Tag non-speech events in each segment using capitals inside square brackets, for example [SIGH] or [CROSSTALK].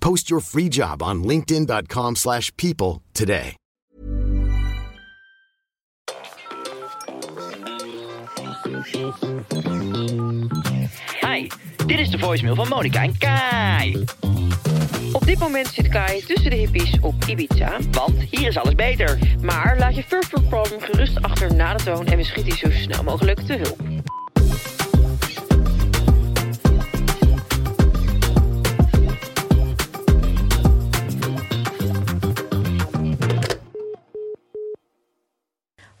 Post your free job on linkedin.com slash people today. Hi, dit is de voicemail van Monica en Kai. Op dit moment zit Kai tussen de hippies op Ibiza. Want hier is alles beter. Maar laat je Furfur Problem gerust achter na de toon en we schieten je zo snel mogelijk te hulp.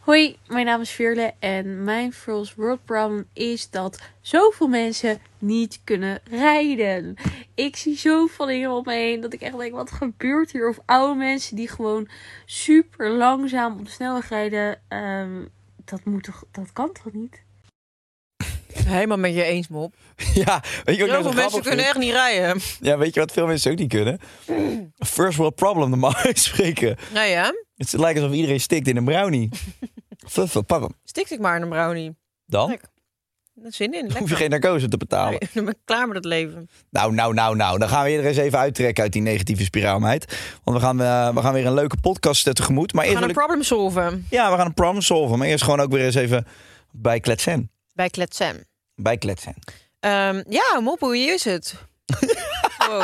Hoi, mijn naam is Veerle en mijn First World Problem is dat zoveel mensen niet kunnen rijden. Ik zie zoveel dingen om me heen dat ik echt denk, wat gebeurt hier? Of oude mensen die gewoon super langzaam op de snelweg rijden. Ehm, dat, moet toch, dat kan toch niet? Helemaal met je eens, Mop. [LAUGHS] Ja, weet je wat ik Heel nou veel zo grappig mensen kunnen vind? echt Mm. niet rijden. Ja, weet je wat veel mensen ook niet kunnen? First world problem, normaal [LAUGHS] gesproken. Nou ja, Het lijkt alsof iedereen stikt in een [LAUGHS] brownie. Fuffel, pak hem. stik ik maar in een brownie. Dan Lekker. Dat zin in. hoef je Lekker. geen narcose te betalen. Nee, [LAUGHS] Dan ben ik klaar met het leven. Nou, nou, nou, nou. Dan gaan we je er eens even uittrekken uit die negatieve spiraal, meid. Want we gaan, eh, we gaan weer een leuke podcast eh, tegemoet. Maar We eerst gaan een wil ik- problem solven Ja, we gaan een problem solven. Maar eerst gewoon ook weer eens even bij kletsen. bij Kletsem. Bij kletsen. Ehm ja, Mop, hoe is [LAUGHS] het? wow.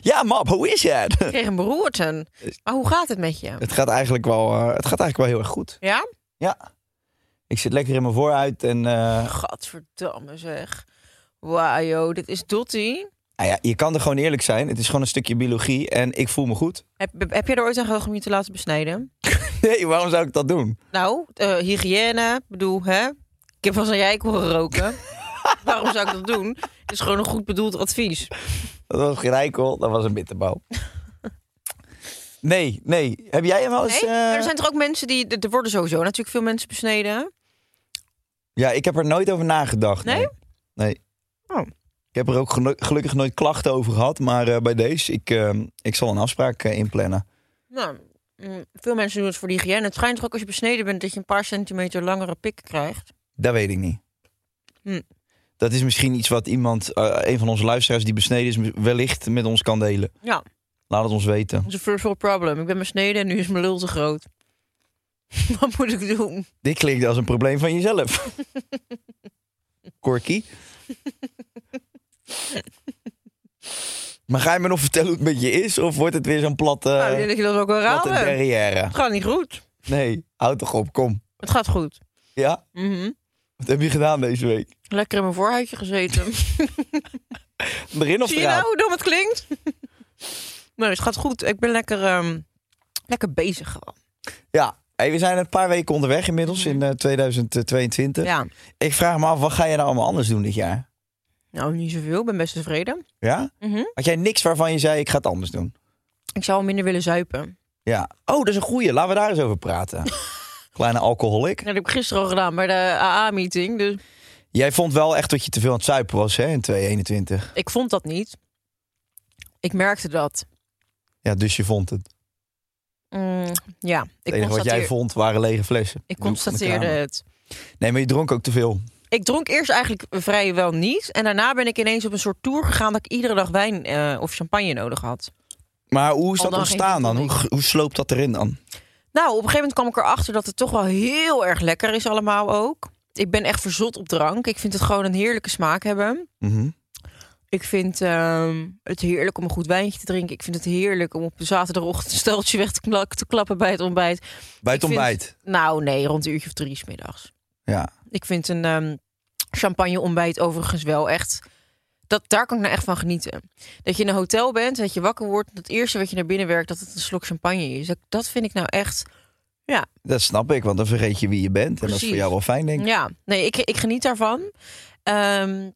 Ja, map, hoe is het? [LAUGHS] Ik kreeg een beroerte. Maar hoe gaat het met je? Het gaat eigenlijk wel, eh, het gaat eigenlijk wel heel erg goed. Ja? Ja. Ik zit lekker in mijn vooruit en... eh, Gadverdamme zeg. Wauw, joh, dit is Dottie. Nou ja, je kan er gewoon eerlijk zijn. Het is gewoon een stukje biologie en ik voel me goed. [LAUGHS] Heb, heb je er ooit aan gedacht om je te laten besnijden? Nee, waarom zou ik dat doen? Nou, eh, hygiëne, bedoel, hè? Ik heb wel eens aan jij horen roken. Waarom zou ik dat doen? Het is gewoon een goed bedoeld advies. Dat was geen eikel, dat was een [LAUGHS] bitterbal. Nee, nee. Heb jij hem wel eens... Nee? Maar eh, er zijn toch ook mensen die... Er er worden sowieso natuurlijk veel mensen besneden. Ja, ik heb er nooit over nagedacht. Nee? Nee. Oh. Ik heb er ook geno- gelukkig nooit klachten over gehad. Maar eh, bij deze, ik, eh, ik zal een afspraak eh, inplannen. Nou, mm, veel mensen doen het voor de hygiëne. Het schijnt toch ook als je besneden bent dat je een paar centimeter langere pik krijgt. Dat weet ik niet. Hm. Dat is misschien iets wat iemand, eh, een van onze luisteraars die besneden is, wellicht met ons kan delen. Ja, Laat het ons weten. dat is een first world problem. Ik ben besneden en nu is mijn lul te groot. [LAUGHS] Wat moet ik doen? Dit klinkt als een probleem van jezelf. Corky. maar ga je me nog vertellen hoe het met je is? Of wordt het weer zo'n platte, nou, ik denk dat je dat ook wel platte raden. Het derrière? gaat niet goed. Nee, houd toch op, kom. Het gaat goed. Ja? Mhm. Wat heb je gedaan deze week? Lekker in mijn voorhuidje gezeten. Erin of Zie je nou eruit? hoe dom het klinkt? [LAUGHS] nee, het gaat goed. Ik ben lekker, ehm, lekker bezig gewoon. Ja. Hey, we zijn een paar weken onderweg inmiddels in eh, 2022. Ja. Ik vraag me af, wat ga jij nou allemaal anders doen dit jaar? Nou, niet zoveel. Ik ben best tevreden. Ja? Mhm. Had jij niks waarvan je zei, ik ga het anders doen? Ik zou wel minder willen zuipen. Ja. Oh, dat is een goeie. Laten we daar eens over [LAUGHS] praten. Kleine alcoholic. Ja, Dat heb ik gisteren al gedaan bij de AA-meeting. Dus Jij vond wel echt dat je te veel aan het zuipen was hè, in 2021. ik vond dat niet. Ik merkte dat. Ja, dus je vond het. Mm, ja, ik, Het enige wat jij constateer- vond waren lege flessen. ik Doe van de constateerde kramer. het. Nee, maar je dronk ook te veel. Ik dronk eerst eigenlijk vrijwel niet. En daarna ben ik ineens op een soort tour gegaan dat ik iedere dag wijn eh, of champagne nodig had. Maar hoe is Al dat dan geen ontstaan dan? Hoe, tonic. hoe sloopt dat erin dan? Nou, op een gegeven moment kwam ik erachter dat het toch wel heel erg lekker is allemaal ook. Ik ben echt verzot op drank. Ik vind het gewoon een heerlijke smaak hebben. Mhm. Ik vind ehm, het heerlijk om een goed wijntje te drinken. Ik vind het heerlijk om op een zaterdagochtend een steltje weg te, klak- te klappen bij het ontbijt. Bij Ik het vind- ontbijt. Nou nee, rond een uurtje of drie 's middags. Ja. Ik vind een ehm, champagne-ontbijt overigens wel echt. Dat, daar kan ik nou echt van genieten. Dat je in een hotel bent, dat je wakker wordt. Dat eerste wat je naar binnen werkt, dat het een slok champagne is. Dat, dat vind ik nou echt. Dat snap ik, want dan vergeet je wie je bent. En dat is Precies. voor jou wel fijn, denk ik. Ja, nee, ik, ik geniet daarvan. Ehm,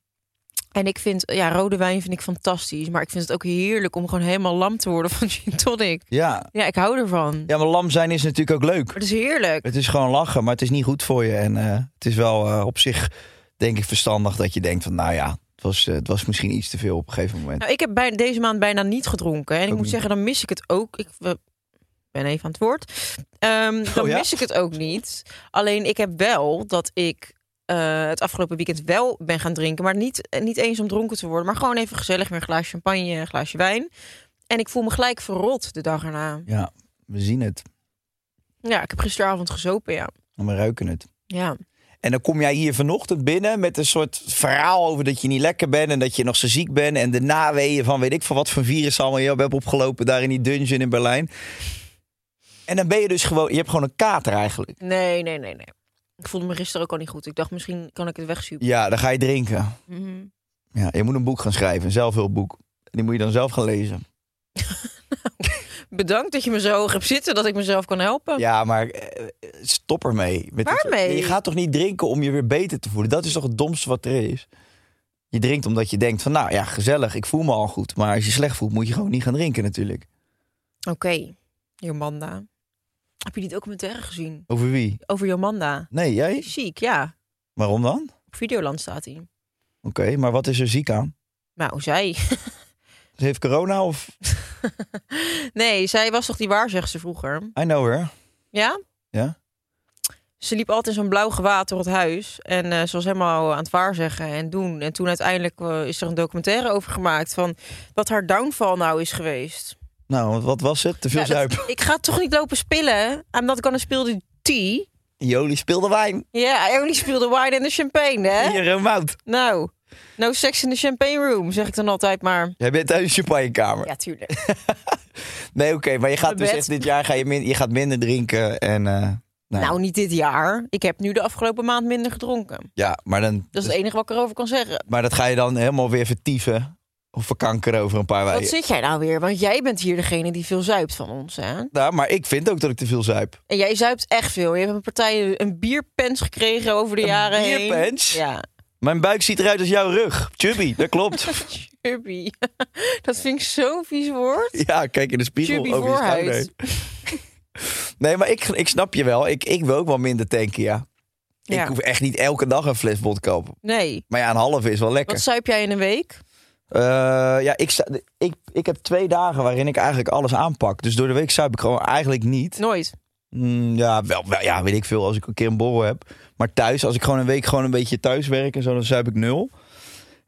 en ik vind, ja, rode wijn vind ik fantastisch. Maar ik vind het ook heerlijk om gewoon helemaal lam te worden van gin tonic. Ja. Ja, ik hou ervan. ja, maar lam zijn is natuurlijk ook leuk. Het is heerlijk. Het is gewoon lachen, maar het is niet goed voor je. En eh, het is wel eh, op zich, denk ik, verstandig dat je denkt van... nou ja, het was, eh, het was misschien iets te veel op een gegeven moment. Nou, ik heb bij, deze maand bijna niet gedronken. En ik Ook moet niet. zeggen, dan mis ik het ook. Ik eh, ben even aan het woord. Ehm, dan Oh ja? mis ik het ook niet. Alleen ik heb wel dat ik eh, het afgelopen weekend wel ben gaan drinken. Maar niet, eh, niet eens om dronken te worden. Maar gewoon even gezellig met een glaasje champagne, een glaasje wijn. En ik voel me gelijk verrot de dag erna. Ja, we zien het. Ja, ik heb gisteravond gezopen, ja. en We ruiken het. Ja, En dan kom jij hier vanochtend binnen met een soort verhaal over dat je niet lekker bent en dat je nog zo ziek bent en de naweeën van weet ik van wat voor virus allemaal je hebt opgelopen daar in die dungeon in Berlijn. En dan ben je dus gewoon, je hebt gewoon een kater eigenlijk. nee, nee, nee, nee. Ik voelde me gisteren ook al niet goed. Ik dacht, misschien kan ik het wegsupen. Ja, dan ga je drinken. Mhm. Ja, je moet een boek gaan schrijven, een zelfhulpboek. En die moet je dan zelf gaan lezen. Bedankt dat je me zo hoog hebt zitten, dat ik mezelf kan helpen. Ja, maar eh, stop ermee. Met dit- Oh. Waarmee? je gaat toch niet drinken om je weer beter te voelen? Dat is toch het domste wat er is? Je drinkt omdat je denkt van, nou ja, gezellig, ik voel me al goed. Maar als je slecht voelt, moet je gewoon niet gaan drinken natuurlijk. Oké, Jomanda. Heb je die documentaire gezien? Over wie? Over Jomanda. Nee, Die jij? is Ziek, ja. Waarom dan? Op Videoland staat hij. Oké, maar wat is er ziek aan? Nou, zij. [LAUGHS] Ze heeft corona of... Nee, zij was toch die waarzegster vroeger? I know her. Ja? Ja? Ze liep altijd in zo'n blauw gewaad door het huis. En eh, ze was helemaal aan het waarzeggen en doen. En toen uiteindelijk eh, is er een documentaire over gemaakt... van wat haar downfall nou is geweest. Nou, want wat was het? Te veel Ja, dat- zuipen. ik ga toch niet lopen spillen? I'm not gonna spill the tea. Jolie speelde wijn. Ja, I only spill the wine and the champagne, hè? Hier een mout. Nou, no sex in the champagne room, zeg ik dan altijd maar. Jij bent thuis in je kamer. Ja, tuurlijk. Nee, oké, maar je gaat Mijn dus bed. echt dit jaar ga je min- je gaat minder drinken. En, eh, nou, Nou, niet dit jaar. Ik heb nu de afgelopen maand minder gedronken. Ja, maar dan... dus- Dat is het enige wat ik erover kan zeggen. Maar dat ga je dan helemaal weer vertieven of verkankeren over een paar Wat weken. zit jij nou weer? Want jij bent hier degene die veel zuipt van ons, hè? Nou, maar ik vind ook dat ik te veel zuip. En jij zuipt echt veel. Je hebt een partij een bierpens gekregen over de jaren heen. bierpens? Ja. Mijn buik ziet eruit als jouw rug. Chubby, dat klopt. Chubby. [LAUGHS] Dat vind ik zo'n vies woord. [LAUGHS] ja, kijk in de spiegel Chubby over je voorhuid. schouder. [LAUGHS] Nee, maar ik, ik snap je wel. Ik, ik wil ook wel minder tanken, ja. Ja. Ik hoef echt niet elke dag een fles bot te kopen. Nee. Maar ja, een halve is wel lekker. Wat zuip jij in een week? Eh, ja, ik, sta- ik, ik heb twee dagen waarin ik eigenlijk alles aanpak. Dus door de week zuip ik gewoon eigenlijk niet. Nooit. Mm, ja, wel, wel- ja, weet ik veel als ik een keer een borrel heb. Maar thuis, als ik gewoon een week gewoon een beetje thuis werk en zo, dan zuip ik nul.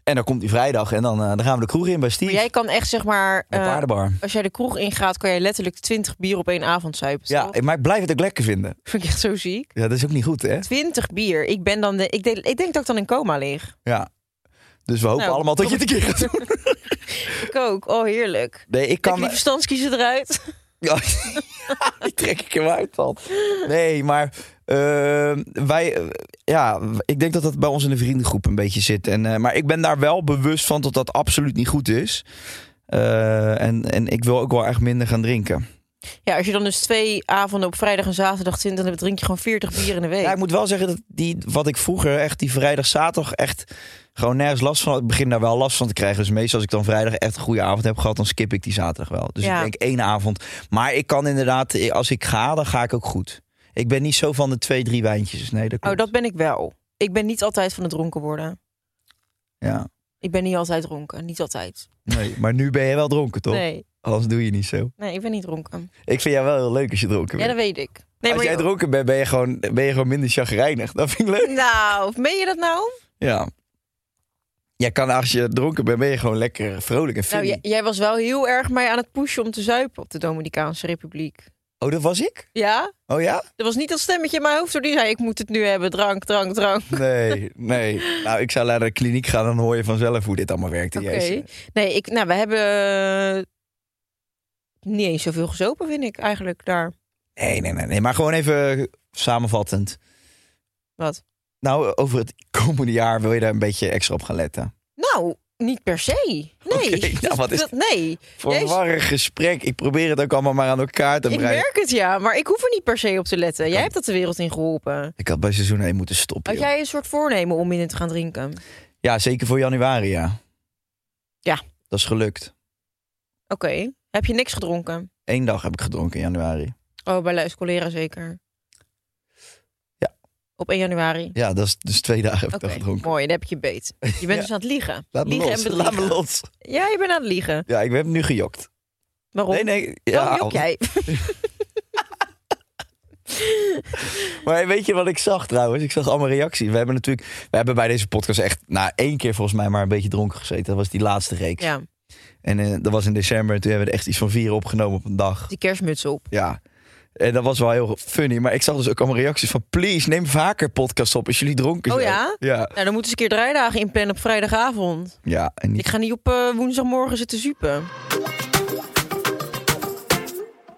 En dan komt die vrijdag en dan, eh, dan gaan we de kroeg in bij Steve. Maar jij kan echt, zeg maar... bij eh, Paardenbar. als jij de kroeg ingaat, kan jij letterlijk 20 bier op één avond zuipen. Ja, toch? maar ik blijf het ook lekker vinden. Vind ik echt zo ziek. Ja, dat is ook niet goed, hè? 20 bier. Ik ben dan de, ik, denk- ik denk dat ik dan in coma lig. Ja. Dus we hopen Nou, allemaal dat je het een kom- keer gaat doen. Ik ook. Oh, heerlijk. Nee, ik Kan kan... die verstandskiezen eruit. Ja, die trek [LAUGHS] ik hem uit dan. Nee, maar eh, wij, eh, ja, ik denk dat dat bij ons in de vriendengroep een beetje zit. En, eh, maar ik ben daar wel bewust van dat dat absoluut niet goed is. Eh, en, en ik wil ook wel echt minder gaan drinken. Ja, als je dan dus twee avonden op vrijdag en zaterdag zit, dan drink je gewoon 40 bier in de week. Ja, ik moet wel zeggen dat die, wat ik vroeger echt die vrijdag, zaterdag echt gewoon nergens last van had. Ik begin daar wel last van te krijgen. Dus meestal als ik dan vrijdag echt een goede avond heb gehad, dan skip ik die zaterdag wel. Dus Ja. ik denk één avond. Maar ik kan inderdaad, als ik ga, dan ga ik ook goed. Ik ben niet zo van de twee, drie wijntjes. Nee, dat oh, klopt. dat ben ik wel. Ik ben niet altijd van het dronken worden. Ja. Ik ben niet altijd dronken. Niet altijd. Nee, maar nu ben je wel dronken, toch? Nee. Anders doe je niet zo. Nee, ik ben niet dronken. Ik vind jou wel heel leuk als je dronken Ja, bent. dat weet ik. Nee, als jij dronken bent, ben je gewoon, ben je gewoon minder chagrijnig. Dat vind ik leuk. Nou, meen je dat nou? Ja. Jij kan, als je dronken bent, ben je gewoon lekker vrolijk en Nou, funny. jij, jij was wel heel erg mij aan het pushen om te zuipen op de Dominicaanse Republiek. Oh, dat was ik? Ja? Oh ja? Er was niet dat stemmetje in mijn hoofd. hoor, Die zei, ik moet het nu hebben. Drank, drank, drank. Nee, nee. Nou, ik zou naar de kliniek gaan, dan hoor je vanzelf hoe dit allemaal werkt. Oké. Jezus. Nee, ik, nou, we hebben eh, niet eens zoveel gezopen, vind ik eigenlijk daar. Nee, nee, nee, nee. Maar gewoon even samenvattend. Wat? Nou, over het komende jaar wil je daar een beetje extra op gaan letten. Nou, niet per se. Nee. Oké, nou, [LAUGHS] Dat- wat is- dat- nee. Verwarrig gesprek. Ik probeer het ook allemaal maar aan elkaar te Ik breien. merk het ja, maar ik hoef er niet per se op te letten. Jij hebt dat de wereld in geholpen. Ik had bij seizoen 1 moeten stoppen. Had joh. jij een soort voornemen om minder te gaan drinken? Oké. Ja, zeker voor januari, ja. Ja. Dat is gelukt. Heb je niks gedronken? Eén dag heb ik gedronken in januari. Oh, bij Luis Colera zeker. Ja. Op 1 januari. Ja, dat is dus twee dagen heb ik Oké, dat gedronken. mooi. Dan heb ik je beet. Je bent Ja. dus aan het liegen. Laat me liegen los. en Laat bedriegen. me los. Ja, je bent aan het liegen. Ja, ik heb nu gejokt. Waarom? Nee, nee. Ja, Ja, jok Oh. jij. Maar weet je wat ik zag trouwens? Ik zag allemaal reacties. We hebben natuurlijk, we hebben bij deze podcast echt na één keer volgens mij maar een beetje dronken gezeten. Dat was die laatste reeks. Ja, En eh, dat was in december. En toen hebben we er echt iets van vier opgenomen op een dag. die kerstmuts op. Ja. En dat was wel heel funny. Maar ik zag dus ook allemaal reacties van... Please, neem vaker podcast op als jullie dronken Oh zijn. ja? Ja. Nou, dan moeten ze een keer draaidagen inplannen op vrijdagavond. Ja, en niet- Ik ga niet op eh, woensdagmorgen zitten zuipen.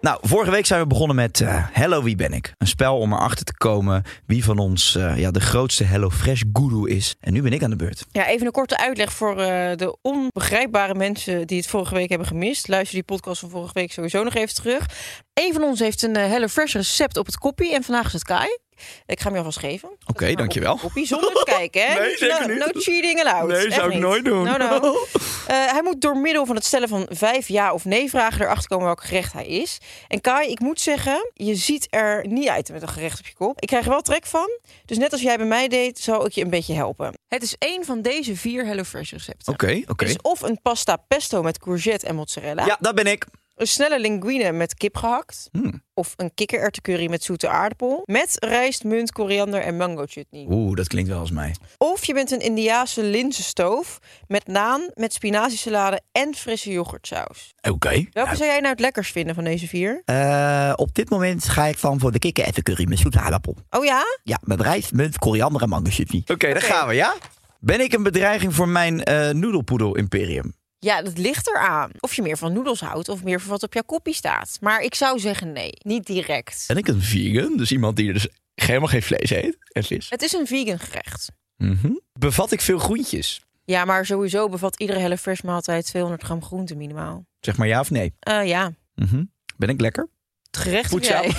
Nou, vorige week zijn we begonnen met eh, Hello Wie Ben Ik. Een spel om erachter te komen wie van ons eh, ja, de grootste HelloFresh guru is. En nu ben ik aan de beurt. Ja, even een korte uitleg voor eh, de onbegrijpbare mensen die het vorige week hebben gemist. Luister die podcast van vorige week sowieso nog even terug. Eén van ons heeft een eh, HelloFresh recept op het koppie en vandaag is het Kai. Ik ga hem je alvast geven. Oké, dankjewel. Koppie zonder te kijken, hè? [LAUGHS] Nee, Niet- zeker no, niet. no cheating allowed. Nee, nou, Echt zou ik niet. Nou, nooit doen. No, no. Eh, hij moet door middel van het stellen van vijf ja of nee vragen erachter komen welk gerecht hij is. En Kai, ik moet zeggen, je ziet er niet uit met een gerecht op je kop. Ik krijg er wel trek van. Dus net als jij bij mij deed, zal ik je een beetje helpen. Het is één van deze vier HelloFresh recepten. [LAUGHS] oké. Het is Dus of een pasta pesto met courgette en mozzarella. Ja, dat ben ik. Een snelle linguine met kip gehakt. Hmm. Of een kikkererwtencurry met zoete aardappel. Met rijst, munt, koriander en mango chutney. Oeh, dat klinkt wel als mij. Of je bent een Indiaanse linzenstoof met naan, met spinaziesalade en frisse yoghurtsaus. Oké. Welke zou jij nou het lekkers vinden van deze vier? Eh, op dit moment ga ik van voor de kikker even curry met zoete aardappel. Oh ja? Ja, met rijst, munt, koriander en mango chutney. Oké, daar Oké. gaan we, ja? Ben ik een bedreiging voor mijn eh noedelpoedel-imperium? Ja, dat ligt eraan. Of je meer van noedels houdt of meer van wat op jouw koppie staat. Maar ik zou zeggen nee, niet direct. En ik een vegan, dus iemand die dus helemaal geen vlees eet en vis. Het is een vegan gerecht. Mhm. Bevat ik veel groentjes? Ja, maar sowieso bevat iedere HelloFresh maaltijd 200 gram groente minimaal. Zeg maar ja of nee. Eh, ja, Mhm. Ben ik lekker? het gerecht Goed jij. zo.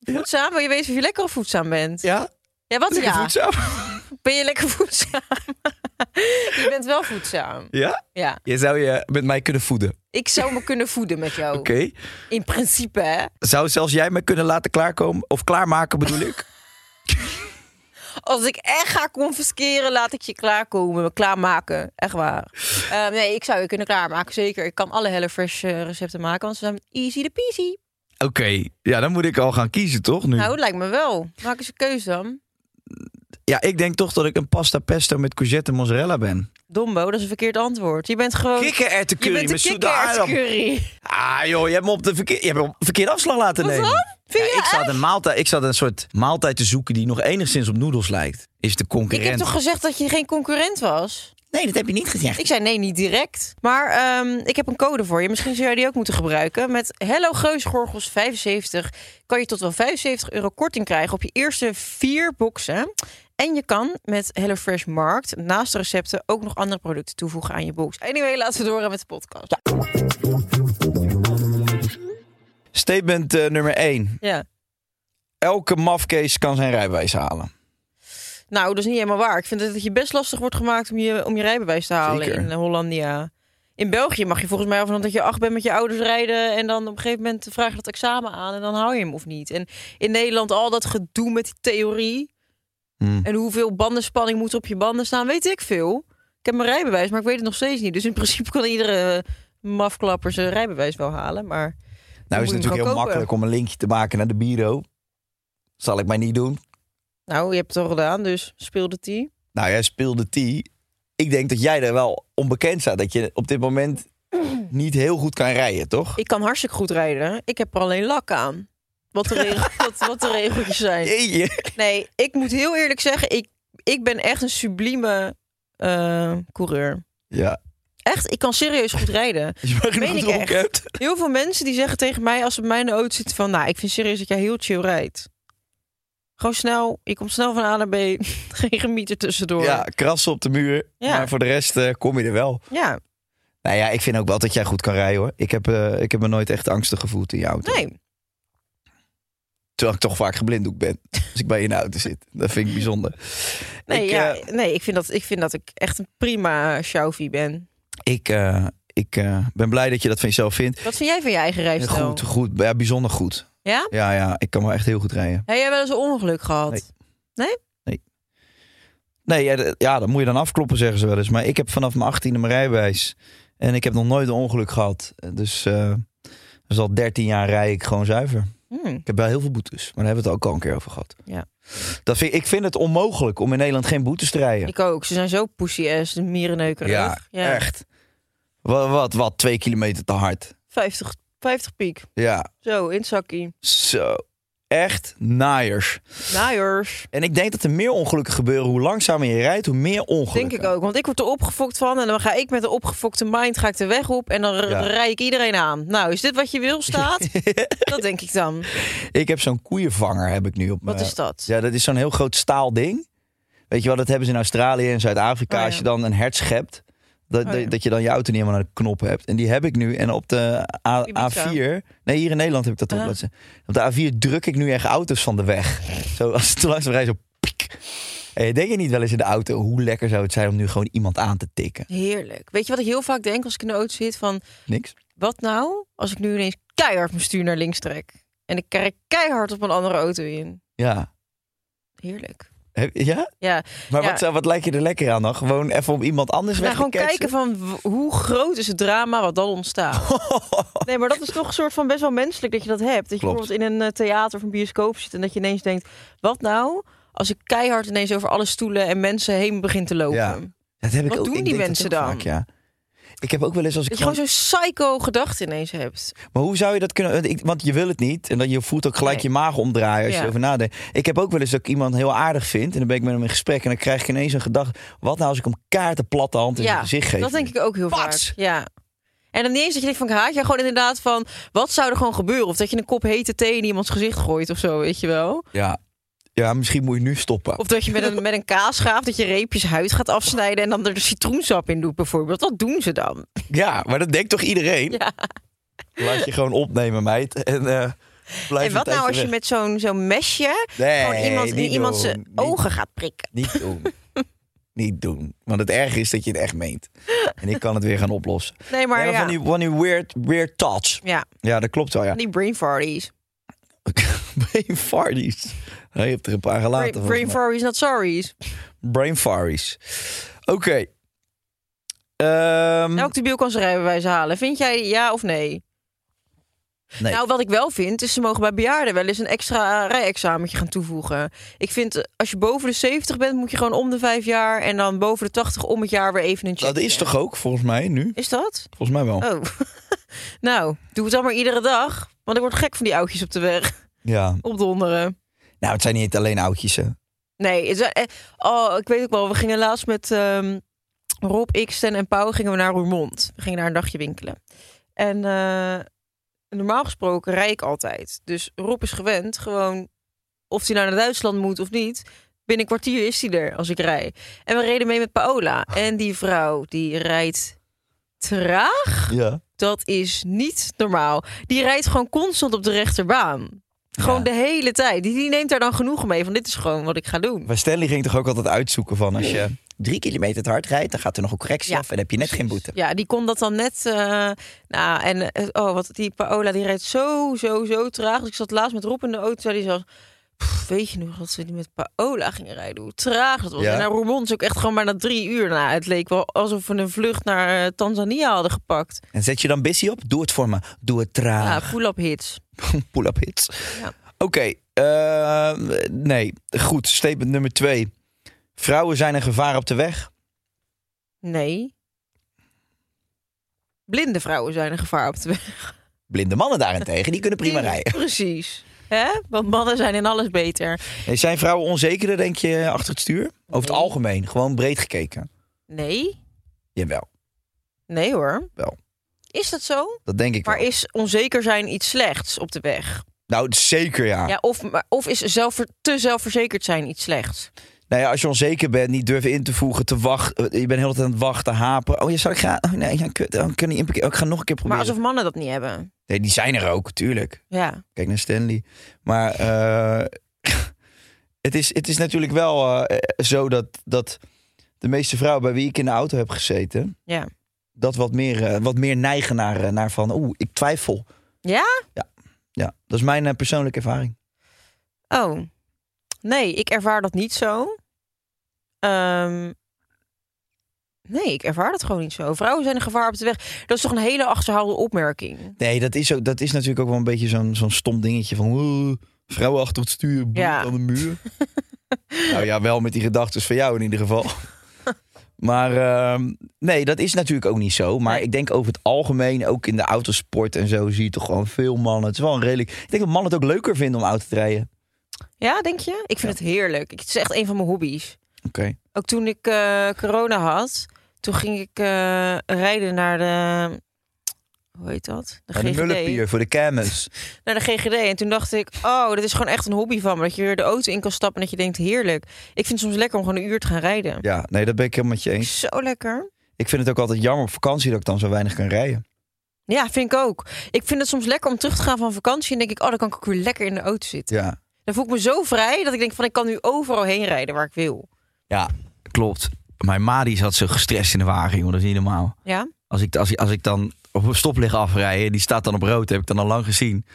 Voedzaam? Wil je weten of je lekker of voedzaam bent? Ja, Ja, wat lekker ja? voedzaam. [LAUGHS] Ben je lekker voedzaam? [LAUGHS] je bent wel voedzaam. Ja? Ja, Je zou je met mij kunnen voeden. Oké. ik zou me kunnen voeden met jou. In principe, hè? Zou zelfs jij me kunnen laten klaarkomen? Of klaarmaken bedoel ik? Als ik echt ga confisceren, laat ik je klaarkomen. Klaarmaken, echt waar. Eh, nee, ik zou je kunnen klaarmaken, zeker. Ik kan alle HelloFresh eh, recepten maken, want ze zijn easy de peasy. Oké. Ja, dan moet ik al gaan kiezen, toch? Nu. Nou, dat lijkt me wel. Maak eens een keuze dan. Ja, ik denk toch dat ik een pasta pesto met courgette en mozzarella ben. Dombo, dat is een verkeerd antwoord. Je bent gewoon... Oh, je Kikkererwtencurry bent met de zoete aardappel. kikkererwtscurry. Ah joh, je hebt me op de verkeer, je hebt me op de verkeerde afslag laten Wat nemen. dan? Vind je ik, zat echt? een maaltijd, ik zat een soort maaltijd te zoeken die nog enigszins op noedels lijkt. Is de Ik concurrent. heb toch gezegd dat je geen concurrent was? Nee, dat heb je niet gezegd. Ik zei nee, niet direct. Maar ehm, ik heb een code voor je. Misschien zou jij die ook moeten gebruiken. Met Hello Geusgorgels 75 kan je tot wel 75 euro korting krijgen op je eerste vier boxen. En je kan met HelloFresh Markt naast de recepten ook nog andere producten toevoegen aan je box. Anyway, laten we doorgaan met de podcast. Ja. Statement eh, nummer 1. Elke mafkees kan zijn rijbewijs halen. Nou, dat is niet helemaal waar. Ik vind dat het je best lastig wordt gemaakt om je, om je rijbewijs te halen Zeker. in eh, Hollandia. In België mag je volgens mij al vanaf dat je acht bent met je ouders rijden. En dan op een gegeven moment vraag je dat examen aan en dan hou je hem of niet. En in Nederland al dat gedoe met die theorie. Hmm. En hoeveel bandenspanning moet op je banden staan, weet ik veel. Ik heb mijn rijbewijs, maar ik weet het nog steeds niet. Dus in principe kan iedere mafklapper zijn rijbewijs wel halen. Maar Nou moet is je hem het natuurlijk heel gewoon kopen. makkelijk om een linkje te maken naar de bureau. Zal ik maar niet doen. Nou, je hebt het al gedaan, dus speelde die. Nou, jij speelde T. Ik denk dat jij er wel onbekend staat. Dat je op dit moment niet heel goed kan rijden, toch? Ik kan hartstikke goed rijden. Ik heb er alleen lak aan. Wat [LAUGHS] de, reg- wat, wat de regeltjes zijn. Jeetje. Nee, ik moet heel eerlijk zeggen, ik, ik ben echt een sublieme eh, coureur. Ja, Echt, ik kan serieus goed rijden. als je maar genoeg Meen ik dronken echt. hebt. Heel veel mensen die zeggen tegen mij als ze bij mij in de auto zitten van... Nou, ik vind serieus dat jij heel chill rijdt. Gewoon snel, je komt snel van A naar B. [LAUGHS] Geen gemieter tussendoor. Ja, krassen op de muur. Ja. Maar voor de rest eh, kom je er wel. Ja, Nou ja, ik vind ook wel dat jij goed kan rijden hoor. Ik heb, eh, ik heb me nooit echt angstig gevoeld in je auto. nee. Terwijl ik toch vaak geblinddoekt ben. Als ik bij je in de auto zit. Dat vind ik bijzonder. Nee, ik, ja, eh, nee ik, vind dat, ik vind dat ik echt een prima Xiaofi ben. ik, eh, ik eh, ben blij dat je dat van jezelf vindt. Wat vind jij van je eigen rijstijl? Goed, goed. Ja, bijzonder goed. Ja? Ja, ja, ik kan wel echt heel goed rijden. Heb jij wel eens een ongeluk gehad? Nee. Nee? Nee, ja, d- ja, dat moet je dan afkloppen, zeggen ze wel eens. Maar ik heb vanaf mijn 18e mijn rijbewijs. En ik heb nog nooit een ongeluk gehad. Dus, eh dus al 13 jaar rij ik gewoon zuiver. Hm. Ik heb wel heel veel boetes, maar daar hebben we het ook al een keer over gehad. Ja. Dat vind, ik vind het onmogelijk om in Nederland geen boetes te rijden. Ik ook. Ze zijn zo pussy-ass, de mierenneukerig. ja, echt. Wat, wat, wat, twee kilometer te hard. 50, 50 piek. Ja, Zo, in het zakkie. zo. Echt naaiers. Naaiers. En ik denk dat er meer ongelukken gebeuren. Hoe langzamer je rijdt, hoe meer ongelukken. Denk ik ook. Want ik word er opgefokt van. En dan ga ik met een opgefokte mind ga ik de weg op. En dan r- Ja. rij ik iedereen aan. Nou, is dit wat je wil, staat? [LAUGHS] dat denk ik dan. Ik heb zo'n koeienvanger heb ik nu op Wat mijn... is dat? Ja, dat is zo'n heel groot staal ding. Weet je wel, dat hebben ze in Australië en Zuid-Afrika. Oh ja. Als je dan een hert schept, dat, Oh dat- ja. dat je dan je auto niet helemaal naar de knop hebt. En die heb ik nu. En op de A, Ibiza. A4... Nee, hier in Nederland heb ik dat op. Ah. dat ze- Op de A4 druk ik nu echt auto's van de weg. Zo, als ze te langzaam rijden, zo piek. En je denkt je niet wel eens in de auto... hoe lekker zou het zijn om nu gewoon iemand aan te tikken? Heerlijk. Weet je wat ik heel vaak denk als ik in de auto zit? Van, Niks. wat nou als ik nu ineens keihard mijn stuur naar links trek? En ik krijg keihard op een andere auto in. Ja. Heerlijk. Heb- Ja? Ja, Maar Ja. wat, zou- wat lijkt je er lekker aan dan? Gewoon even om iemand anders Nou, weg gewoon te ketsen? kijken van w- hoe groot is het drama wat dan ontstaat. [LAUGHS] Nee, maar dat is toch een soort van best wel menselijk dat je dat hebt. Dat je Klopt. bijvoorbeeld in een eh, theater of een bioscoop zit en dat je ineens denkt: wat nou als ik keihard ineens over alle stoelen en mensen heen begin te lopen? Ja. Dat heb ik Wat ook. doen ik die denk dat mensen heel dan? vaak, ja. Ik heb ook wel eens als ik Dat je gewoon gewoon... zo'n psycho gedachte ineens hebt. Maar hoe zou je dat kunnen... Want, ik- want je wil het niet. En dan je voelt ook gelijk Nee. je maag omdraaien als je Ja. erover nadenkt. Ik heb ook wel eens dat ik iemand heel aardig vind. En dan ben ik met hem in gesprek. En dan krijg ik ineens een gedachte. Wat nou als ik hem kaart de platte hand in ja, zijn gezicht geef? dat denk ik ook heel Pats! vaak. Ja. En dan niet eens dat je denkt van ik haat je, gewoon inderdaad van wat zou er gewoon gebeuren? Of dat je een kop hete thee in iemands gezicht gooit of zo, weet je wel? Ja. ja, misschien moet je nu stoppen. Of dat je met een, met een kaasschaaf dat je reepjes huid gaat afsnijden en dan er de citroensap in doet bijvoorbeeld. Dat doen ze dan. Ja, maar dat denkt toch iedereen? Ja. Laat je gewoon opnemen, meid. En eh, blijf En wat een nou als je tijdje weg. met zo'n zo'n mesje gewoon Nee, iemand, in niet iemand doen. zijn Niet ogen gaat prikken? Niet doen. [LAUGHS] niet doen. Want het erg is dat je het echt meent. En ik kan het weer gaan oplossen. Nee, maar Ja, ja, Van, die, van die weird, weird touch. ja, Ja, dat klopt wel, ja. die brain farties. [LAUGHS] brain farties. Hij heeft er een paar Brain, gelaten. brain volgens mij. farties, not sorries. brain farties. Oké. Ehm, Nou, ook de biel kan zijn rijbewijs halen. Vind jij ja of nee? nee. Nou, wat ik wel vind, is ze mogen bij bejaarden wel eens een extra rijexamentje gaan toevoegen. Ik vind, eh, als je boven de 70 bent, moet je gewoon om de vijf jaar... en dan boven de 80 om het jaar weer even een check. dat is toch ook, volgens mij, nu? Is dat? Volgens mij wel. Oh. [LAUGHS] nou, doe het dan maar iedere dag. Want ik word gek van die oudjes op de weg. Ja. Op donderen. Nou, het zijn niet alleen oudjes, hè. Nee, het is, eh, oh, ik weet ook wel. We gingen laatst met ehm, Rob, ik, Stan en Pauw gingen we naar Roermond. We gingen daar een dagje winkelen. En eh, normaal gesproken rij ik altijd. Dus Rob is gewend gewoon of hij nou naar Duitsland moet of niet. Binnen een kwartier is hij er als ik rij. En we reden mee met Paola. En die vrouw die rijdt traag. Ja. Dat is niet normaal. Die rijdt gewoon constant op de rechterbaan. Gewoon Ja. de hele tijd. Die, die neemt daar dan genoegen mee. Van dit is gewoon wat ik ga doen. Maar Stanley ging toch ook altijd uitzoeken van... als je drie kilometer te hard rijdt, dan gaat er nog een correctie Ja, af... en heb je net geen boete. Ja, die kon dat dan net. eh, nou, en eh, oh, wat die Paola die rijdt zo, zo, zo traag. Dus ik zat laatst met Rob in de auto. Zei die zo. "Pff, Weet je nog dat we die met Paola gingen rijden? Hoe traag dat was. Ja. En naar Roermond is ook echt gewoon maar na drie uur. Nou, het leek wel alsof we een vlucht naar eh, Tanzania hadden gepakt. En zet je dan busy op? Doe het voor me. Doe het Ja, traag. pull-up hits. [LAUGHS] Pull-up hits. Nou. Ja. Oké, eh, nee. Goed, statement nummer twee. Vrouwen zijn een gevaar op de weg. Nee. Blinde vrouwen zijn een gevaar op de weg. Blinde mannen daarentegen, die kunnen [LAUGHS] prima Die- rijden. Precies. Hè? Want mannen zijn in alles beter. Hey, Zijn vrouwen onzekerder, denk je, achter het stuur? Over het Nee. algemeen, gewoon breed gekeken. Nee. Jawel, Nee hoor. Wel. Is dat zo? dat denk ik Maar wel. is onzeker zijn iets slechts op de weg? Nou, zeker ja. Ja, of, maar- of is zelf, te zelfverzekerd zijn iets slechts? Nou ja, als je onzeker bent, niet durven in te voegen, te wachten. eh, Je bent de hele tijd aan het wachten, hapen. Oh, ja, zou ik gaan? Oh, nee, ja, kut. Oh, ik kan niet inparkeren. Oh, ik ga nog een keer Maar proberen. alsof mannen dat niet hebben. Nee, die zijn er ook, tuurlijk. Ja. Kijk naar Stanley. Maar eh, [LAUGHS] het, is, het is natuurlijk wel eh, zo dat, dat de meeste vrouwen bij wie ik in de auto heb gezeten, Ja. dat wat meer, eh, wat meer neigen naar, eh, naar van, oeh, ik twijfel. Ja? Ja, dat is mijn eh, persoonlijke ervaring. Oh. Nee, ik ervaar dat niet zo. Ehm, nee, ik ervaar dat gewoon niet zo. Vrouwen zijn een gevaar op de weg. Dat is toch een hele achterhaalde opmerking. Nee, dat is, ook, dat is natuurlijk ook wel een beetje zo'n zo'n stom dingetje van, oeh, vrouwen achter het stuur, bloed Ja. aan de [LAUGHS] muur. nou ja, wel met die gedachten van jou in ieder [LAUGHS] geval. Maar ehm, nee, dat is natuurlijk ook niet zo. Maar Nee. ik denk over het algemeen, ook in de autosport en zo, zie je toch gewoon veel mannen. Het is wel een redelijk. Ik denk dat mannen het ook leuker vinden om auto te rijden. Ja, denk je? Ik vind het heerlijk. Ik- Het is echt een van mijn hobby's. Oké. Ook toen ik eh, corona had, toen ging ik eh, rijden naar de... Hoe heet dat? De, En de GGD. mullenpier voor de [LAUGHS] kermis. naar de GGD. En toen dacht ik, oh, dit is gewoon echt een hobby van me. Dat je weer de auto in kan stappen en dat je denkt, heerlijk. Ik vind het soms lekker om gewoon een uur te gaan rijden. Ja, nee, dat ben ik helemaal met je eens. Zo lekker. Ik vind het ook altijd jammer op vakantie dat ik dan zo weinig kan rijden. Ja, vind ik ook. Ik vind het soms lekker om terug te gaan van vakantie. En denk ik, oh, dan kan ik ook weer lekker in de auto zitten. Ja. Dan voel ik me zo vrij dat ik denk van, ik kan nu overal heen rijden waar ik wil. Ja, klopt. Mijn ma die zat zo gestrest in de wagen, jongen. Dat is niet normaal. Ja? Als ik, als, ik- als ik dan op een stoplicht afrijd, die staat dan op rood, heb ik dan al lang gezien.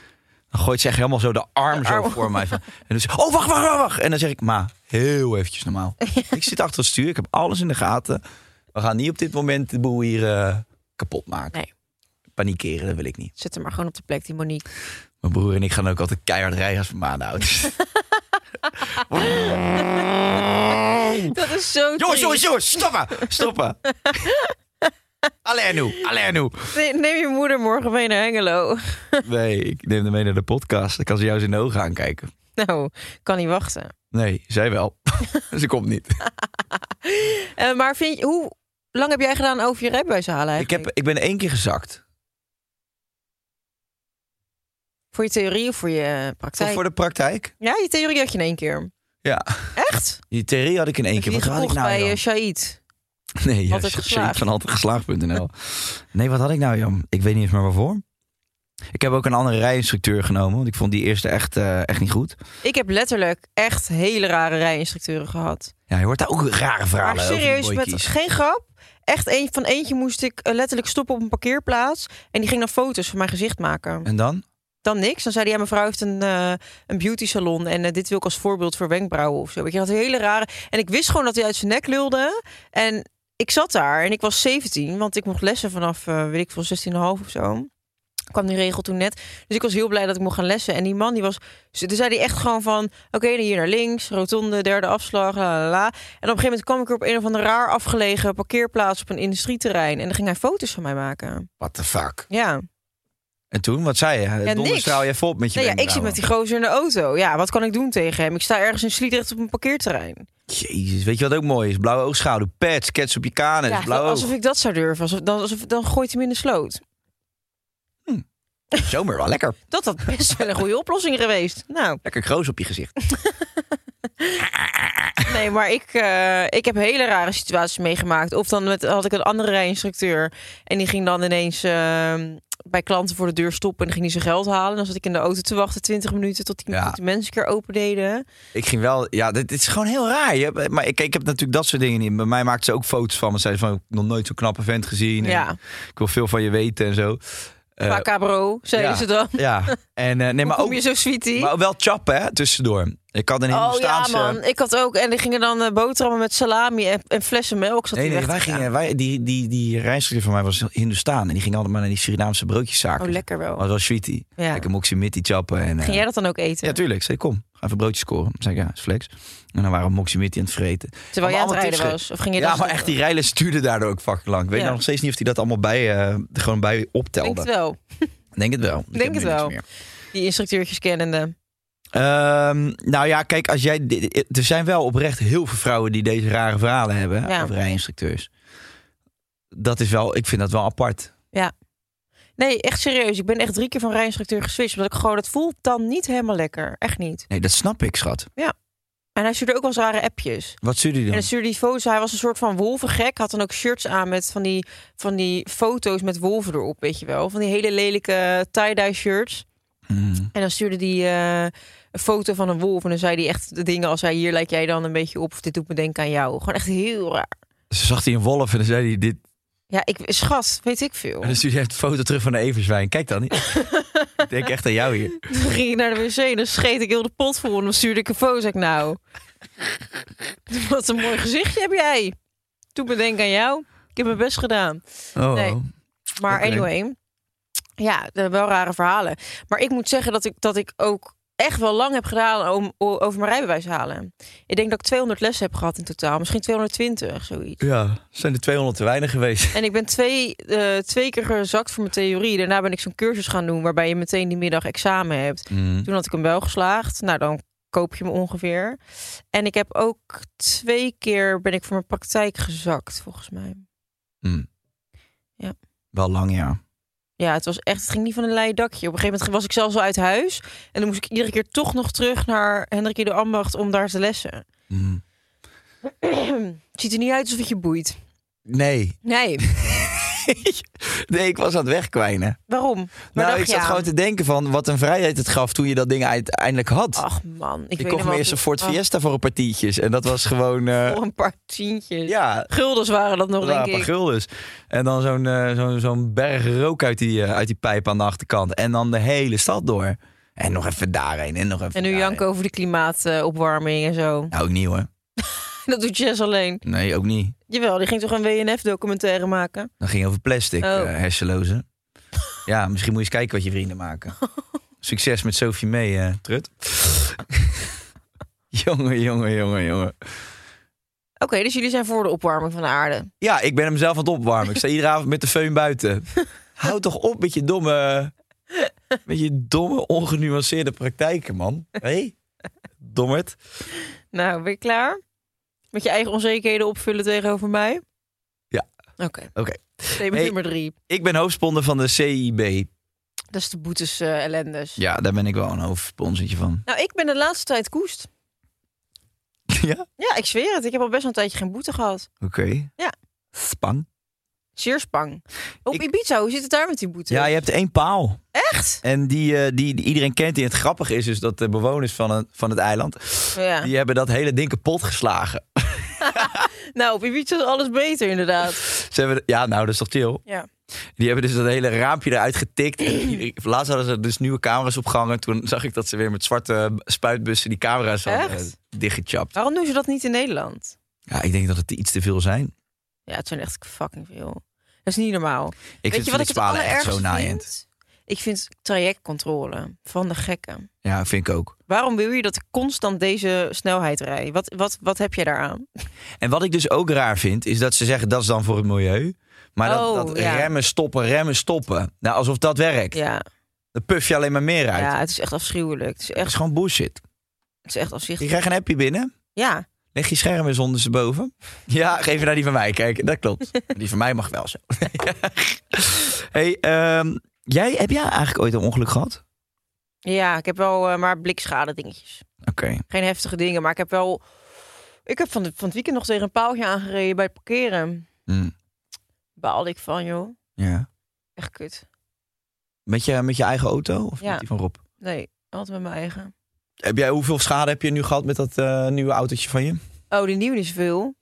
Dan gooit ze echt helemaal zo de arm, De arm zo om. voor mij. Van, en dan zeg ik, oh wacht, wacht, wacht, wacht. En dan zeg ik, ma, heel eventjes [LAUGHS] normaal. Ik zit achter het stuur, ik heb alles in de gaten. We gaan niet op dit moment de boel hier eh, kapot maken. Nee. Panikeren, dat wil ik niet. Zet hem maar gewoon op de plek, die Monique. Mijn broer en ik gaan ook altijd keihard rijden als we maanden [LAUGHS] oud zijn. Dat is zo jongens, triest. jongens, jongens, stoppen, stoppen. Alleen nu, alleen nu. Ne- Neem je moeder morgen mee naar Hengelo. Nee, ik neem hem mee naar de podcast. Dan kan ze jou eens in de ogen aankijken. [LAUGHS] Nou, kan niet wachten. Nee, zij wel. [LAUGHS] ze komt niet. Eh, maar vind je, hoe lang heb jij gedaan over je rijbewijs halen Ik, eigenlijk? heb, ik ben één keer gezakt. Voor je theorie of voor je praktijk? Of voor de praktijk? Ja, je theorie had je in één keer. Ja. Echt? Die theorie had ik in één Heb je keer. die Wat had ik gekocht nou, bij Jan? eh, Shaïd? [LAUGHS] Nee, ja, Altijd shit, Geslaagd. shit, van altijd geslaagd.nl. nee, wat had ik nou, Jan? Ik weet niet eens meer waarvoor. Ik heb ook een andere rijinstructeur genomen. Want ik vond die eerste echt, eh, echt niet goed. Ik heb letterlijk echt hele rare rijinstructeuren gehad. Ja, je hoort daar ook rare verhalen maar over die serieus, met boykies. geen grap. Echt een, van eentje moest ik eh, letterlijk stoppen op een parkeerplaats. En die ging dan foto's van mijn gezicht maken. En dan? Dan niks. Dan zei hij, ja, mevrouw heeft een, eh, een beauty salon. En eh, dit wil ik als voorbeeld voor wenkbrauwen of zo. Weet je, dat hele rare. En ik wist gewoon dat hij uit zijn nek lulde. En ik zat daar en ik was 17, want ik mocht lessen vanaf, eh, weet ik veel, 16,5 of zo. kwam die regel toen net. Dus ik was heel blij dat ik mocht gaan lessen. En die man die was... Toen zei hij echt gewoon van... Oké, dan hier naar links, rotonde, derde afslag, la la la. En op een gegeven moment kwam ik er op een of andere raar afgelegen parkeerplaats... op een industrieterrein. En dan ging hij foto's van mij maken. What the fuck? Ja. En toen, wat zei je? niks. Donderstraal je vol met je Nou ja, ik zit met die gozer in de auto. Ja, wat kan ik doen tegen hem? Ik sta ergens in Sliedrecht op een parkeerterrein. Jezus, weet je wat ook mooi is? Blauwe oogschaduw, pets, cats op je Dus kanus, Ja, blauw alsof ik dat zou durven. Alsof, dan, alsof, dan gooit hij me in de sloot. oog. Zomer wel lekker. Dat had best wel een goede [LAUGHS] oplossing geweest. Nou, Lekker groos op je gezicht. [LAUGHS] Nee, maar ik, eh, ik heb hele rare situaties meegemaakt. Of dan met, had ik een andere rijinstructeur. En die ging dan ineens ehm, bij klanten voor de deur stoppen. En dan ging hij zijn geld halen. En dan zat ik in de auto te wachten 20 minuten tot die, Ja. tot die mensen een keer open deden. Ik ging wel, ja, dit, dit is gewoon heel raar. Je hebt- maar ik, ik heb natuurlijk dat soort dingen niet. Bij mij maakte ze ook foto's van me. Zei ze van, ik heb nog nooit zo'n knappe vent gezien. En Ja. Ik wil veel van je weten en [LAUGHS] zo. Eh, Qua cabro, zeiden ja. ze dan. ja, en eh, nee, maar Hoe kom ook, je zo, sweetie? maar wel chap hè, tussendoor. Ik had een Oh ja, Hindoestaanse... man. Ik had ook. En die gingen dan eh, boterhammen met salami en, en flessen melk. Zat Nee, die nee, weg wij te gaan. gingen, wij, die, die, die reisgids van mij was Hindoestaan. En die gingen altijd maar naar die Surinaamse broodjeszaken. Oh, lekker wel. Was wel sweetie. Ja. Lekker moximitti chappen. En, eh, Ging jij dat dan ook eten? Ja, tuurlijk. Ik Zei, kom, ga even broodjes scoren. Zeg ik, ja, is flex. En dan waren we moximitti aan het vreten. Terwijl jij aan Maar het allemaal rijden tips was? Of ging je Ja, dan maar echt, die rijlen stuurden daardoor ook fucking lang. Ik weet Ja. nou nog steeds niet of hij dat allemaal bij, eh, er gewoon bij Ik denk optelde. het wel. Denk het wel. Ik Denk heb het nu niks wel. meer. Die instructeurtjes kennende. Ehm, nou ja, kijk, als jij, er zijn wel oprecht heel veel vrouwen die deze rare verhalen hebben Ja. over rijinstructeurs. Dat is wel, ik vind dat wel apart. Nee, echt serieus. Ik ben echt drie keer van rijinstructeur geswitcht. Omdat ik gewoon, dat voelt dan niet helemaal lekker. Echt niet. Nee, dat snap ik, schat. En hij stuurde ook wel eens rare appjes. Wat stuurde je En dan? dan stuurde die foto's. Hij was een soort van wolvengek. Had dan ook shirts aan met van die, van die foto's met wolven erop, weet je wel. Van die hele lelijke tie-dye shirts. Mm. En dan stuurde hij eh, een foto van een wolf. En dan zei hij echt de dingen als hij hier lijkt jij dan een beetje op. Of dit doet me denken aan jou. Gewoon echt heel raar. Ze zag hij een wolf en dan zei hij dit. Ja, ik, schat, weet ik veel. [LAUGHS] En dan stuurde hij een foto terug van een everzwijn. Kijk dan. ik denk echt aan jou hier. Toen ging ik naar de wc en dan scheet ik heel de pot vol. En dan stuurde ik een foto. Zei ik, nou, [LAUGHS] wat een mooi gezichtje heb jij. Toen bedenk aan jou. Ik heb mijn best gedaan. Oh. Nee. Maar Oké. anyway, ja, eh, wel rare verhalen. Maar ik moet zeggen dat ik, dat ik ook echt wel lang heb gedaan om, o- over mijn rijbewijs te halen. Ik denk dat ik 200 lessen heb gehad in totaal. Misschien 220, zoiets. Ja, zijn er 200 te weinig geweest. En ik ben twee, eh, twee keer gezakt voor mijn theorie. Daarna ben ik zo'n cursus gaan doen waarbij je meteen die middag examen hebt. Mm, Toen had ik hem wel geslaagd. Nou, dan koop je hem ongeveer. En ik heb ook twee keer ben ik voor mijn praktijk gezakt, volgens mij. Ja. mm. Wel lang, ja. Ja, het was echt, het ging niet van een leien dakje. Op een gegeven moment was ik zelfs al uit huis. En dan moest ik iedere keer toch nog terug naar Hendrik de Ambacht om daar te lessen. Mm. Het ziet er niet uit alsof het je boeit. Nee. Nee, Nee, ik was aan het wegkwijnen. waarom? Waar dacht Nou, ik je zat aan? gewoon te denken van wat een vrijheid het gaf toen je dat ding uiteindelijk had. Ach man, Oh, ik, ik weet kocht me eerst een oh. Ford Fiesta voor een paar tientjes. En dat was gewoon... eh, Voor een paar tientjes. ja, Guldens waren dat nog, dat waren denk een paar ik. guldens. En dan zo'n eh, zo'n zo'n berg rook uit die, eh, uit die pijp aan de achterkant. En dan de hele stad door. En nog even daarheen en nog even En nu daarheen. janken over de klimaatopwarming en zo. [LAUGHS] Nou, ook niet hoor. Dat doet Jess alleen. Nee, ook niet. Jawel, die ging toch een WNF-documentaire maken? Dan ging je over plastic, Oh. eh, hersenloze. [LAUGHS] Ja, misschien moet je eens kijken wat je vrienden [LAUGHS] maken. Succes met Sophie mee, eh, Trut. [LAUGHS] jongen, jongen, jongen, jongen. Oké, dus jullie zijn voor de opwarming van de aarde. Ja, ik ben hem zelf aan het opwarmen. Ik sta iedere avond met de föhn buiten. Hou toch op met je domme, met je domme ongenuanceerde praktijken, man. Hé, dommerd. Nou, ben je klaar? Met je eigen onzekerheden opvullen tegenover mij? Ja. Oké. Oké, Thema Hey. nummer drie. ik ben hoofdsponder van de CIB. Dat is de boetes eh, ellendes. Ja, daar ben ik wel een hoofdsponsortje van. [LAUGHS] Nou, ik ben de laatste tijd koest. ja, Ja, ik zweer het. Ik heb al best wel een tijdje geen boete gehad. oké. Ja. Spang. Zeer spang. Op Ik- Ibiza, hoe zit het daar met die boete? Ja, je hebt één paal. Echt? En die, eh, die, die iedereen kent. En het grappige is dus dat de bewoners van het, van het eiland... Ja. die hebben dat hele ding kapot geslagen. Nou, op Ibiza is alles beter inderdaad. Ze hebben, ja, nou, dat is toch chill. Oh. Ja. Die Die hebben dus dat hele raampje eruit getikt. En iedereen- Laatst hadden ze dus nieuwe camera's opgehangen. Toen zag ik dat ze weer met zwarte spuitbussen die camera's hadden Echt? eh, dichtgechapt. Waarom doen ze dat niet in Nederland? Ja, ik denk dat het iets te veel zijn. Ja, het zijn echt fucking veel. Dat is niet normaal. Ik Weet vind je wat ik het het Spalen echt allerergste zo naaiend. vind? Ik vind trajectcontrole van de gekken. Ja, vind ik ook. Waarom wil je dat ik constant deze snelheid rijd? Wat, wat, wat heb je daaraan? En wat ik dus ook raar vind, is dat ze zeggen dat is dan voor het milieu. Maar dat, Oh, dat ja. remmen, stoppen, remmen, stoppen. Nou, alsof dat werkt. Ja, Dan puff je alleen maar meer uit. ja het is echt afschuwelijk. Het is Dat is echt, gewoon bullshit. het is echt Je afzichtelijk. krijgt een appje binnen. Ja, Leg je scherm eens onder ze boven. [LAUGHS] Ja, geef je naar die van mij. Kijk, dat klopt. [LAUGHS] Die van mij mag wel zo. [LAUGHS] hey, ehm, jij, heb jij eigenlijk ooit een ongeluk gehad? ja, ik heb wel eh, maar blikschade dingetjes. Oké. Geen heftige dingen, maar ik heb wel... Ik heb van, de, van het weekend nog tegen een paaltje aangereden bij het parkeren. Hm, Baalde ik van, joh. ja. Echt kut. Met je, met je eigen auto of Ja. met die van Rob? Nee, altijd met mijn eigen. Heb jij, hoeveel schade heb je nu gehad met dat eh, nieuwe autootje van je? Oh, die nieuwe is veel.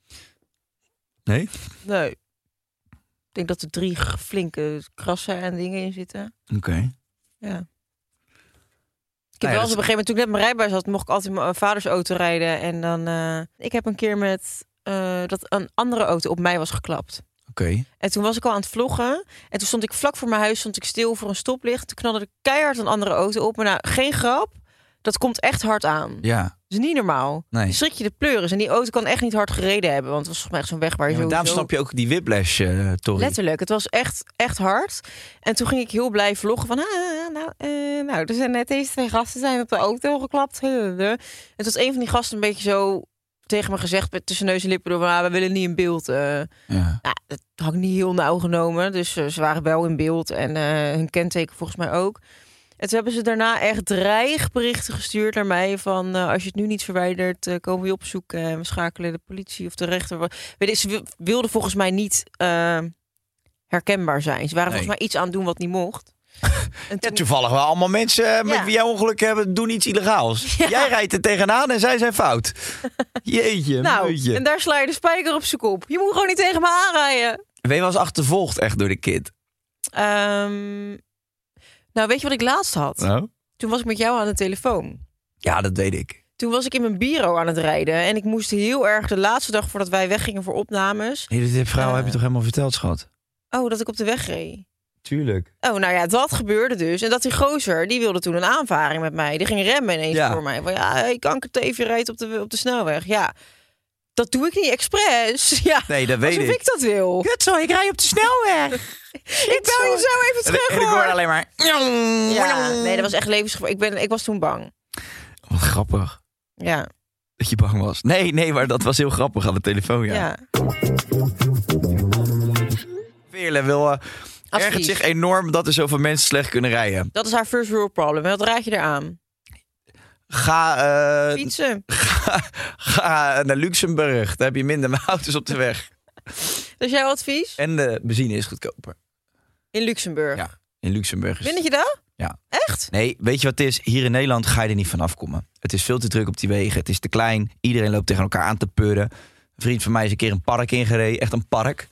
Nee. Nee. Ik denk dat er drie g- flinke krassen en dingen in zitten. Oké. Ja. Ik heb Nou wel eens ja, op dat- een gegeven moment, toen ik net mijn rijbewijs had, mocht ik altijd in mijn vaders auto rijden. En dan, eh, ik heb een keer met, eh, dat een andere auto op mij was geklapt. Oké. En toen was ik al aan het vloggen. En toen stond ik vlak voor mijn huis, stond ik stil voor een stoplicht. Toen knalde er keihard een andere auto op. Maar nou, geen grap, dat komt echt hard aan. Ja. Dat is niet normaal. Nee. Dan schrik je de pleuris. En die auto kan echt niet hard gereden hebben. Want het was volgens mij echt zo'n weg waar je Ja, maar zo. daarom snap je ook die whiplash, eh Tori. Letterlijk, het was echt, echt hard. En toen ging ik heel blij vloggen van... Ah, nou, eh, nou, er zijn net deze twee gasten zijn op de auto geklapt. En toen was een van die gasten een beetje zo tegen me gezegd... met tussen neus en lippen door... Ah, we willen niet in beeld. eh. Ja. Nou, dat had ik niet heel nauw genomen. Dus eh, ze waren wel in beeld en eh, hun kenteken volgens mij ook. En toen hebben ze daarna echt dreigberichten gestuurd naar mij van... eh, als je het nu niet verwijdert, eh, komen we je opzoeken en we schakelen de politie of de rechter. Wa- Weet ik, ze wi- wilden volgens mij niet eh, herkenbaar zijn. Ze waren Nee. volgens mij iets aan het doen wat niet [LAUGHS] mocht. en Ja, toen, toevallig wel allemaal mensen eh, met Ja. wie jij ongeluk hebben doen iets [LAUGHS] illegaals. Jij rijdt er tegenaan en zij zijn fout. Jeetje, nou, meutje. en daar sla je de spijker op zijn kop. Je moet gewoon niet tegen me aanrijden. Ben je wel eens achtervolgd echt door de kid? Ehm, nou, weet je wat ik laatst had? Nou? Toen was ik met jou aan de telefoon. Ja, dat weet ik. Toen was ik in mijn bureau aan het rijden. En ik moest heel erg de laatste dag voordat wij weggingen voor opnames. Nee, dit heb- verhaal Eh. heb je toch helemaal verteld, schat? Oh, dat ik op de weg reed. Tuurlijk. Oh, nou ja, dat gebeurde dus. En dat die gozer, die wilde toen een aanvaring met mij. Die ging remmen ineens Ja. voor mij. Van ja, hey, kankerteefje rijdt op de, op de snelweg. Ja, dat doe ik niet expres. [LAUGHS] Ja, Nee, dat weet alsof ik. ik dat wil. Kut zo, ik rij op de [LAUGHS] snelweg. ik bel je zo even terug, En ik hoor hoor. alleen maar... Ja, nee, dat was echt levensgevaar. Ik, ben, ik was toen bang. Wat grappig Ja, dat je bang was. Nee, nee, maar dat was heel grappig aan de telefoon, ja. ja. Veerle wil... eh, Advies. ergert zich enorm dat er zoveel mensen slecht kunnen rijden. Dat is haar first world problem. Wat raad je eraan? Ga, eh, [LAUGHS] Fietsen. ga naar Luxemburg. Daar heb je minder [LAUGHS] auto's op de weg. Dat is jouw advies? En de benzine is goedkoper. In Luxemburg. Ja, in Luxemburg is Vind je dat? Dus- Ja. Echt? Nee, weet je wat het is? Hier in Nederland ga je er niet van afkomen. Het is veel te druk op die wegen. Het is te klein. Iedereen loopt tegen elkaar aan te peuren. Een vriend van mij is een keer een park ingereden. Echt een park.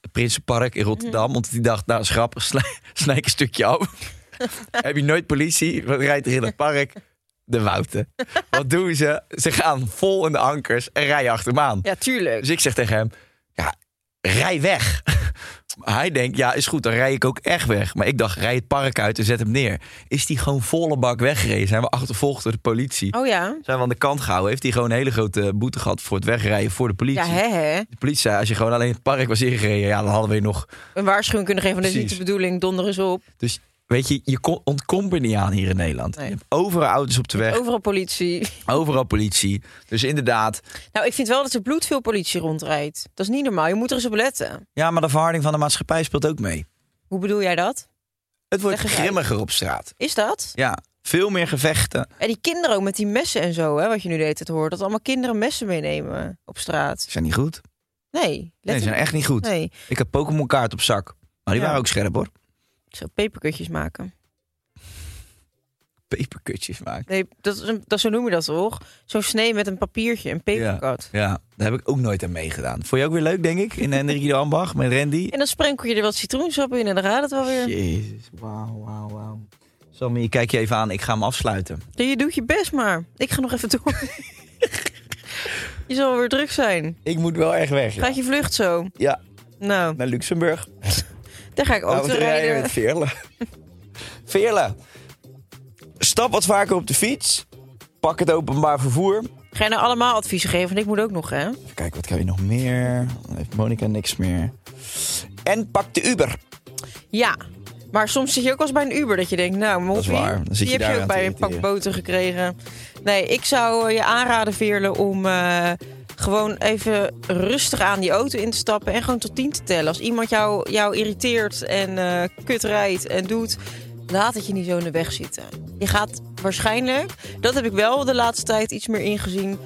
Het Prinsenpark in Rotterdam. Want die dacht, nou is grappig, [LAUGHS] snij, snij ik een stukje af. Heb je nooit politie? Wat rijdt er in het park? De Wouten. Wat doen ze? Ze gaan vol in de ankers en rijden achter hem aan. Ja, tuurlijk. Dus ik zeg tegen hem, ja, rij weg. [LAUGHS] Hij denkt, ja, is goed, dan rij ik ook echt weg. Maar ik dacht, rij het park uit en zet hem neer. Is die gewoon volle bak weggereden? Zijn we achtervolgd door de politie? Oh ja. Zijn we aan de kant gehouden? Heeft hij gewoon een hele grote boete gehad voor het wegrijden voor de politie? Ja, hè, hè. De politie zei, als je gewoon alleen het park was ingereden, ja, dan hadden we je nog... Een waarschuwing kunnen geven, van dit is niet de Precies. bedoeling, donder eens op. Dus weet je, je kon- ontkomt er niet aan hier in Nederland. Nee. Oh. Je hebt overal auto's op de weg, Overal politie. [LAUGHS] overal politie. Dus inderdaad, Nou, ik vind wel dat er bloedveel politie rondrijdt. Dat is niet normaal, je moet er eens op letten. ja, maar de verharding van de maatschappij speelt ook mee. Hoe bedoel jij dat? Het wordt Leg eens uit. grimmiger op straat. Is dat? Ja, veel meer gevechten. En die kinderen ook met die messen en zo, hè, wat je nu de hele tijd hoort. Dat allemaal kinderen messen meenemen op straat. Ze zijn niet goed. Nee, Nee, ze zijn echt niet goed. Nee, Ik heb Pokémon kaart op zak. Maar die Ja. waren ook scherp hoor. ik zou peperkutjes maken. Peperkutjes maken. Nee, dat, is een, dat zo noem je dat toch? Zo'n snee met een papiertje, een peperkat. Ja, daar heb ik ook nooit aan meegedaan. Vond je ook weer leuk, denk ik, in Henrik de Ambach met Randy. En dan sprenkel je er wat citroensap in en dan gaat het wel weer. Jezus, wauw, wauw, wauw. Sammy, ik kijk je even aan. Ik ga hem afsluiten. Je doet je best maar. Ik ga nog even door. je zal wel weer druk zijn. Ik moet wel echt weg. Ja, Gaat je vlucht zo? Ja, Nou, naar Luxemburg. daar ga ik ook Nou, te we rijden rijden. met Veerle. [LAUGHS] Veerle, stap wat vaker op de fiets. Pak het openbaar vervoer. Ga je nou allemaal adviezen geven? Want ik moet ook nog, hè? Even kijken, wat kan je nog meer? Dan heeft Monica niks meer. En pak de Uber. Ja. Maar soms zit je ook als bij een Uber dat je denkt, nou, mijn is hoppie, waar. Dan die zit je heb daar je ook aan te bij een pak irriteren. boter gekregen. Nee, ik zou eh, je aanraden, Veerle, om eh, gewoon even rustig aan die auto in te stappen en gewoon tot tien te tellen. Als iemand jou, jou irriteert en eh, kut rijdt en doet, laat het je niet zo in de weg zitten. Je gaat waarschijnlijk, dat heb ik wel de laatste tijd iets meer ingezien,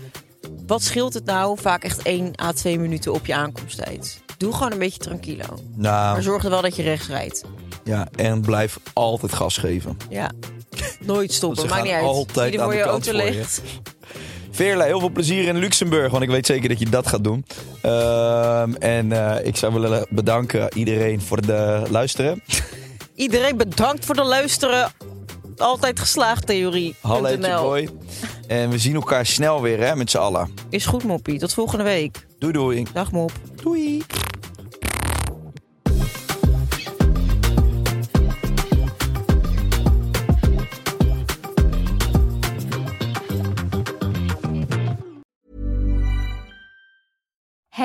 wat scheelt het nou? Vaak echt 1 à 2 minuten op je aankomsttijd. Doe gewoon een beetje tranquilo. Maar Nou, zorg er wel dat je rechts rijdt. Ja, en blijf altijd gas geven. Ja. Nooit stoppen, Want ze maakt niet gaan uit. altijd Die aan voor de je kant auto voor je. ligt. Veerle, heel veel plezier in Luxemburg, want ik weet zeker dat je dat gaat doen. Ehm, en eh, ik zou willen bedanken iedereen voor het eh, luisteren. Iedereen bedankt voor het luisteren. Altijd geslaagd theorie. Halletje NL. boy. En we zien elkaar snel weer, hè, met z'n allen. Is goed, Moppie. Tot volgende week. Doei doei. Dag, Mop. Doei.